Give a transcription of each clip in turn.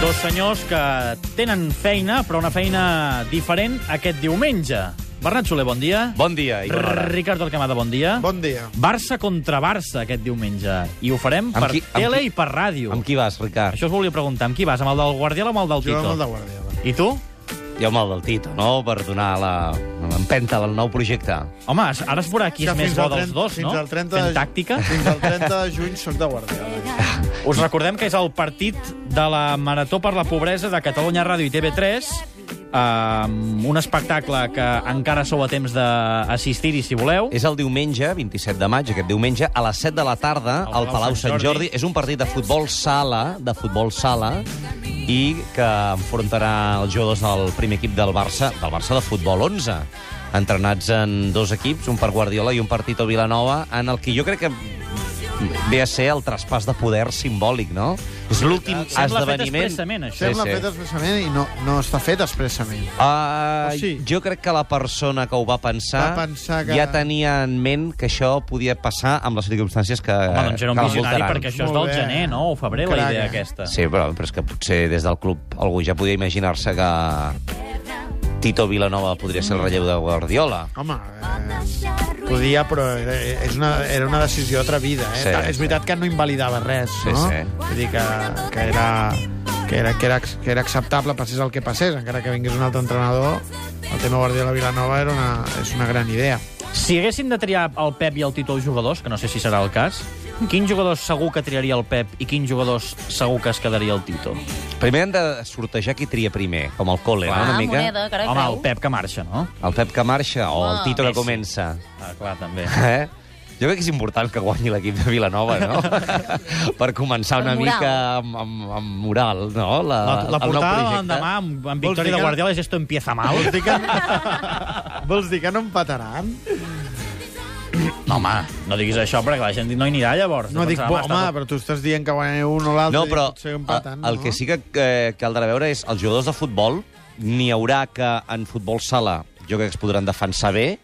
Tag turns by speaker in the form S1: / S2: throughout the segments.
S1: Dos senyors que tenen feina, però una feina diferent aquest diumenge. Bernat Soler, bon dia.
S2: Bon dia i bona hora.
S1: Ricardo Alcamada, bon dia.
S3: Bon dia.
S1: Barça contra Barça aquest diumenge. I ho farem
S2: Amb
S1: per
S2: qui- amb
S1: tele
S2: qui-
S1: i per ràdio.
S2: Amb qui vas, Ricard?
S1: Això us volia preguntar. Amb qui vas? Amb el del Guardiola o amb el del
S3: Jo
S1: Tito?
S3: amb el de Guardiola.
S1: I tu?
S2: Jo amb el del Tito, no? Per donar la- l'empenta del nou projecte.
S1: Home, ara es veurà qui
S3: Que
S1: és més
S3: fins
S1: bo
S3: al
S1: dels
S3: 30
S1: dos, no?
S3: Fins al 30 de,
S1: Fent tàctica.
S3: Fins al 30 de juny sóc de Guardiola.
S1: Us recordem que és el partit de la Marató per la Pobresa de Catalunya Ràdio i TV3, amb un espectacle que encara sou a temps d'assistir-hi, si voleu.
S2: És el diumenge, 27 de maig, aquest diumenge, a les 7 de la tarda,
S1: Al
S2: al Palau Sant Jordi. És un partit de futbol sala, de futbol sala, i que enfrontarà els jugadors del primer equip del Barça, del Barça de futbol 11, entrenats en dos equips, un per Guardiola i un per Tito Vilanova, en el que jo crec que ve a ser el traspàs de poder simbòlic, no? És l'últim
S1: Sembla fet
S2: esdeveniment...
S1: expressament, això.
S3: Sembla fet expressament i no, no està fet expressament.
S2: Uh,
S3: O sí?
S2: Jo crec que la persona que ho va pensar,
S3: Va pensar que-
S2: ja tenia en ment que això podia passar amb les circumstàncies que,
S1: Home, doncs era un
S2: que
S1: visionari,
S2: l'envoltaran.
S1: perquè això és
S3: Molt
S1: del
S3: bé.
S1: gener, no? O febrer, la
S3: Crac,
S1: idea
S3: eh?
S1: aquesta.
S2: Sí, però, però és que potser des del club algú ja podia imaginar-se que Tito Vilanova podria ser el relleu de Guardiola.
S3: Home, eh, podia, però era, és una, era una decisió atrevida. Eh?
S2: Sí,
S3: Ta- és
S2: sí.
S3: veritat que no invalidava res,
S2: Sí,
S3: no?
S2: sí.
S3: Vull dir que, que era que era, que, era, que era acceptable passés el que passés, encara que vingués un altre entrenador, el tema Guardiola Vilanova era una, és una gran idea.
S1: Si haguessin de triar el Pep i el Tito els jugadors, que no sé si serà el cas, quins jugadors segur que triaria el Pep i quins jugadors segur que es quedaria el Tito?
S2: Primer hem de sortejar qui tria primer, com el col·le, no?
S4: Ah,
S2: una mica.
S4: moneda, carai,
S1: Home,
S4: creu.
S1: el Pep que marxa, no?
S2: El Pep que marxa o el
S4: Ah.
S2: Tito que
S1: Messi.
S2: comença.
S1: Ah, clar, també.
S2: Eh? Jo crec que és important que guanyi l'equip de Vilanova, no? per començar una
S4: Per moral.
S2: mica amb, amb, amb moral, no? La,
S1: La, la
S2: el nou
S1: portada
S2: projecte.
S1: l'endemà amb, amb
S3: Vols
S1: victòria
S3: dir
S1: de
S3: que-
S1: Guardiola és esto empieza mal.
S3: Vols dir que, vols dir que no empataran?
S1: No, home, no diguis això perquè la gent no hi anirà llavors.
S3: No dic,
S1: Pensarà,
S3: bo,
S1: "Home, està
S3: home,
S1: tot-
S3: però tu estàs dient que guanyeu un o l'altre
S2: No, però
S3: i potser
S2: a,
S3: empaten,
S2: el
S3: no?
S2: que sí que eh, caldrà veure és els jugadors de futbol, n'hi haurà que en futbol sala jo crec que es podran defensar bé,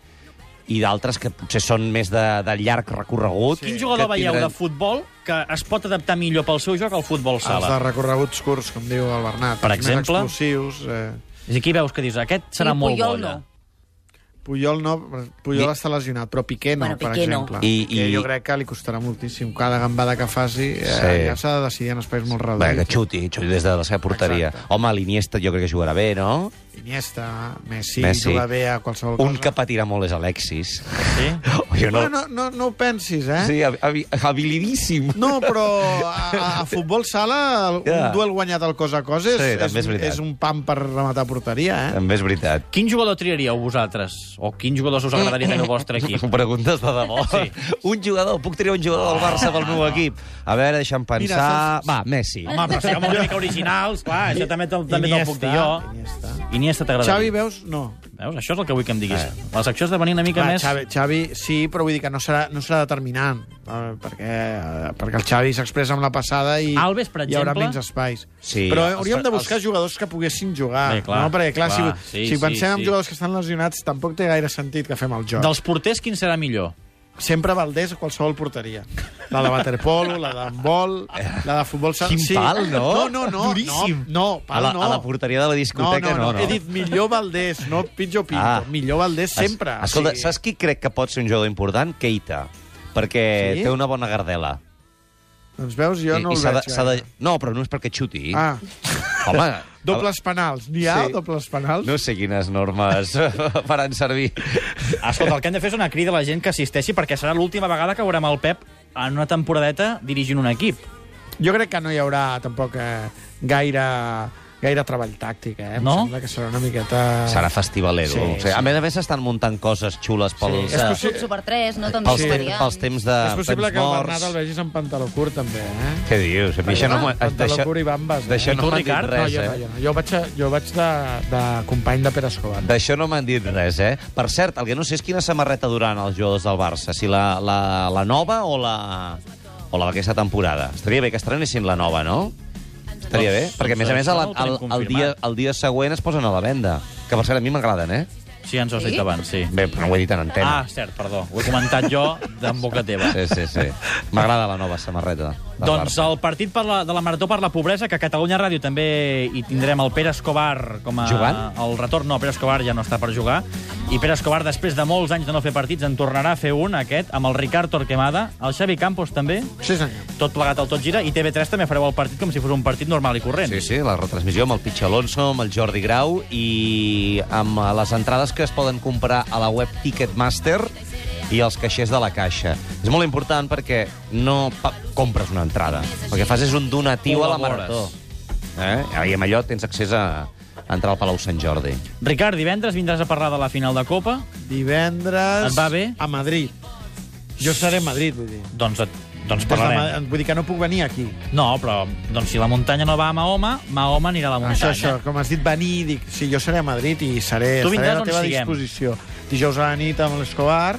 S2: i d'altres que potser són més de, de llarg recorregut.
S1: Quin jugador
S2: que
S1: veieu
S2: tindran-
S1: de futbol que es pot adaptar millor pel seu joc al futbol
S3: Els de
S1: sala?
S3: recorreguts curts, com diu el Bernat.
S1: Per
S3: els més
S1: exemple?
S3: explosius. Eh.
S1: És a dir, qui veus que dius, aquest serà
S4: Sí,
S1: molt bo.
S4: Puyol
S1: allà"?
S4: no.
S3: Puyol no, Puyol
S2: Ni-
S3: està lesionat, però Piqué no,
S4: Bueno,
S3: per
S4: Piqué no.
S3: exemple.
S2: I-
S3: Que
S2: i-
S3: jo crec que li costarà moltíssim. Cada gambada que faci eh,
S2: Sí.
S3: ja s'ha de decidir en espais molt
S2: Bé, que
S3: reduïts.
S2: xuti, xuti des de la seva porteria.
S3: Exacte.
S2: Home, l'Iniesta jo crec que jugarà bé, no?
S3: Iniesta,
S2: Messi.
S3: Messi, Messi, juga bé a qualsevol
S2: Un que
S3: cosa.
S2: patirà molt és Alexis.
S1: Sí?
S2: Jo
S3: No, no, no, no ho pensis, eh?
S2: Sí, hab- habi- habilidíssim.
S3: No, però a, a futbol sala el-
S2: Ja.
S3: un duel guanyat al cos a cos és,
S2: Sí, també és
S3: és,
S2: veritat.
S3: és un pam per rematar porteria, eh?
S2: També és veritat.
S1: Quin jugador triaríeu vosaltres? O quin jugador us agradaria tenir al vostre equip?
S2: Em preguntes de debò.
S1: Sí.
S2: Un jugador, puc triar un jugador del Barça pel meu equip? A veure, deixa'm pensar...
S3: Mira,
S2: Va, Messi.
S1: Home, però siguem una mica originals, clar, això també te'l també te puc dir jo.
S3: Iniesta.
S1: Iniesta
S3: Xavi,
S1: t'agradaria.
S3: veus? No.
S1: Veus? Això és el que vull que em diguis. La secció és de venir una mica
S3: Clar,
S1: més...
S3: Ah, Xavi, Xavi, sí, però vull dir que no serà, no serà determinant, eh, perquè, eh, perquè el Xavi s'expressa amb la passada i
S1: Alves, per
S3: hi haurà
S1: exemple?
S3: menys espais.
S2: Sí,
S3: però eh,
S2: els-
S3: hauríem de buscar
S2: els-
S3: jugadors que poguessin jugar,
S1: Bé, clar,
S3: no? perquè clar,
S1: clar,
S3: si,
S1: sí,
S3: si
S1: sí,
S3: pensem en
S1: sí.
S3: jugadors que estan lesionats tampoc té gaire sentit que fem el joc.
S1: Dels porters, quin serà millor?
S3: Sempre Valdés a qualsevol porteria. La de waterpolo, la d'handbol, la de futbol... sala-
S2: Quin pal, no?
S3: No, no, no.
S2: Duríssim.
S3: No, no
S2: A
S3: pal
S2: la,
S3: no.
S2: a la porteria de la discoteca, no, no.
S3: He dit millor Valdés, no pitjor Pinto.
S2: Ah.
S3: Ah. Millor Valdés sempre.
S2: Es- Escolta,
S3: O sigui,
S2: saps qui crec que pot ser un jugador important? Keita. Perquè
S3: Sí?
S2: té una bona gardela.
S3: Doncs veus, jo
S2: I-
S3: no
S2: i
S3: el
S2: s'ha de-
S3: veig.
S2: s'ha de-
S3: gaire.
S2: No, però no és perquè xuti.
S3: Ah,
S2: Home,
S3: dobles penals. N'hi ha
S2: Sí.
S3: dobles penals?
S2: no sé quines normes faran servir.
S1: Ah, Escolta, el que hem de fer és una crida a la gent que assisteixi perquè serà l'última vegada que veurem el Pep en una temporadeta dirigint un equip.
S3: Jo crec que no hi haurà tampoc eh, gaire, gaire treball tàctic, eh? Em
S1: No?
S3: sembla que serà una miqueta...
S2: Serà festivalero.
S3: Sí,
S2: o sigui, A
S3: sí.
S2: més a més, s'estan muntant coses xules pels,
S3: És
S2: eh,
S3: possi-
S4: Sub Super 3, no? També
S2: pels,
S4: sí.
S2: te pels temps de
S3: És possible
S2: temps
S3: que el
S2: morts.
S3: Bernat el vegis en pantaló curt, també, eh?
S2: Què dius? A mi això no m'ho...
S3: Pantaló curt i bambes, eh?
S2: D'això
S1: I
S2: no
S1: tu,
S2: m'han dit
S1: Ricard?
S3: No,
S2: res,
S3: jo, no,
S2: eh?
S3: jo, no. jo vaig, a, jo vaig de, de company de Pere Escobar.
S2: D'això no m'han dit res, eh? Per cert, el que no sé és quina samarreta duran els jugadors del Barça, si la, la, la nova o la, o la d'aquesta temporada. Estaria bé que estrenessin la nova, no? Estaria bé,
S1: Doncs,
S2: perquè a més a
S1: doncs,
S2: més el,
S1: això no ho
S2: el,
S1: tenim
S2: el, dia,
S1: confirmat.
S2: el dia següent es posen a la venda, que per cert a mi m'agraden, eh?
S1: Sí, ja ens ho has dit abans, sí.
S2: Bé, però no ho he dit en antena.
S1: Ah, cert, perdó. Ho he comentat jo d'en boca teva.
S2: Sí, sí, sí. M'agrada la nova samarreta. del
S1: Doncs
S2: Barça.
S1: el partit per la, de la Marató per la Pobresa, que a Catalunya Ràdio també hi tindrem el Pere Escobar com a...
S2: Jugant?
S1: El retorn, no, Pere Escobar ja no està per jugar. I Pere Escobar, després de molts anys de no fer partits, en tornarà a fer un, aquest, amb el Ricard Torquemada, el Xavi Campos també,
S3: Sí, senyor.
S1: tot plegat al Tot Gira, i TV3 també fareu el partit com si fos un partit normal i corrent.
S2: Sí, sí, la retransmissió amb el Pitx Alonso, amb el Jordi Grau i amb eh, les entrades que es poden comprar a la web Ticketmaster i els caixers de la caixa. És molt important perquè no pa- compres una entrada. El que fas és un donatiu a la
S1: Col·labores.
S2: marató. Eh? I amb allò tens accés a entrar al Palau Sant Jordi.
S1: Ricard, divendres vindràs a parlar de la final de Copa.
S3: Divendres...
S1: Et va bé?
S3: A Madrid. Jo seré a Madrid, vull dir.
S1: Doncs, et, doncs
S3: Des de
S1: parlarem.
S3: Ma- Vull dir que no puc venir aquí.
S1: No, però doncs, si la muntanya no va a Mahoma, Mahoma anirà a la muntanya.
S3: Això, això, com has dit, venir, dic, sí, jo seré a Madrid i seré,
S1: Tu
S3: estaré a
S1: vindràs
S3: la
S1: on
S3: teva
S1: siguem.
S3: disposició. Dijous a la nit amb l'Escobar,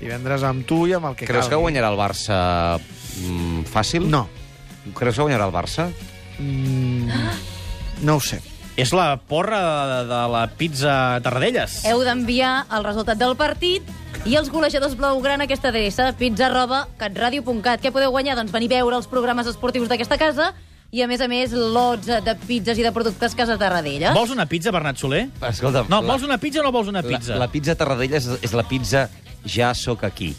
S3: divendres amb tu i amb el que
S2: Creus que
S3: calgui.
S2: guanyarà el Barça mm, fàcil?
S3: No.
S2: Creus que guanyarà el Barça?
S3: Mm, no ho sé.
S1: És la porra de, de la pizza Tarradellas.
S4: Heu d'enviar el resultat del partit i els golejadors blaugrana a aquesta adreça, pizza arroba catradio.cat. Què podeu guanyar? Doncs venir a veure els programes esportius d'aquesta casa i, a més a més, lots de pizzas i de productes Casa Tarradella.
S1: Vols una pizza, Bernat Soler?
S2: Escolta'm,
S1: No, vols una pizza o no vols una pizza?
S2: La, la pizza Tarradellas és, és la pizza ja sóc aquí.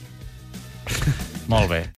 S1: Molt bé.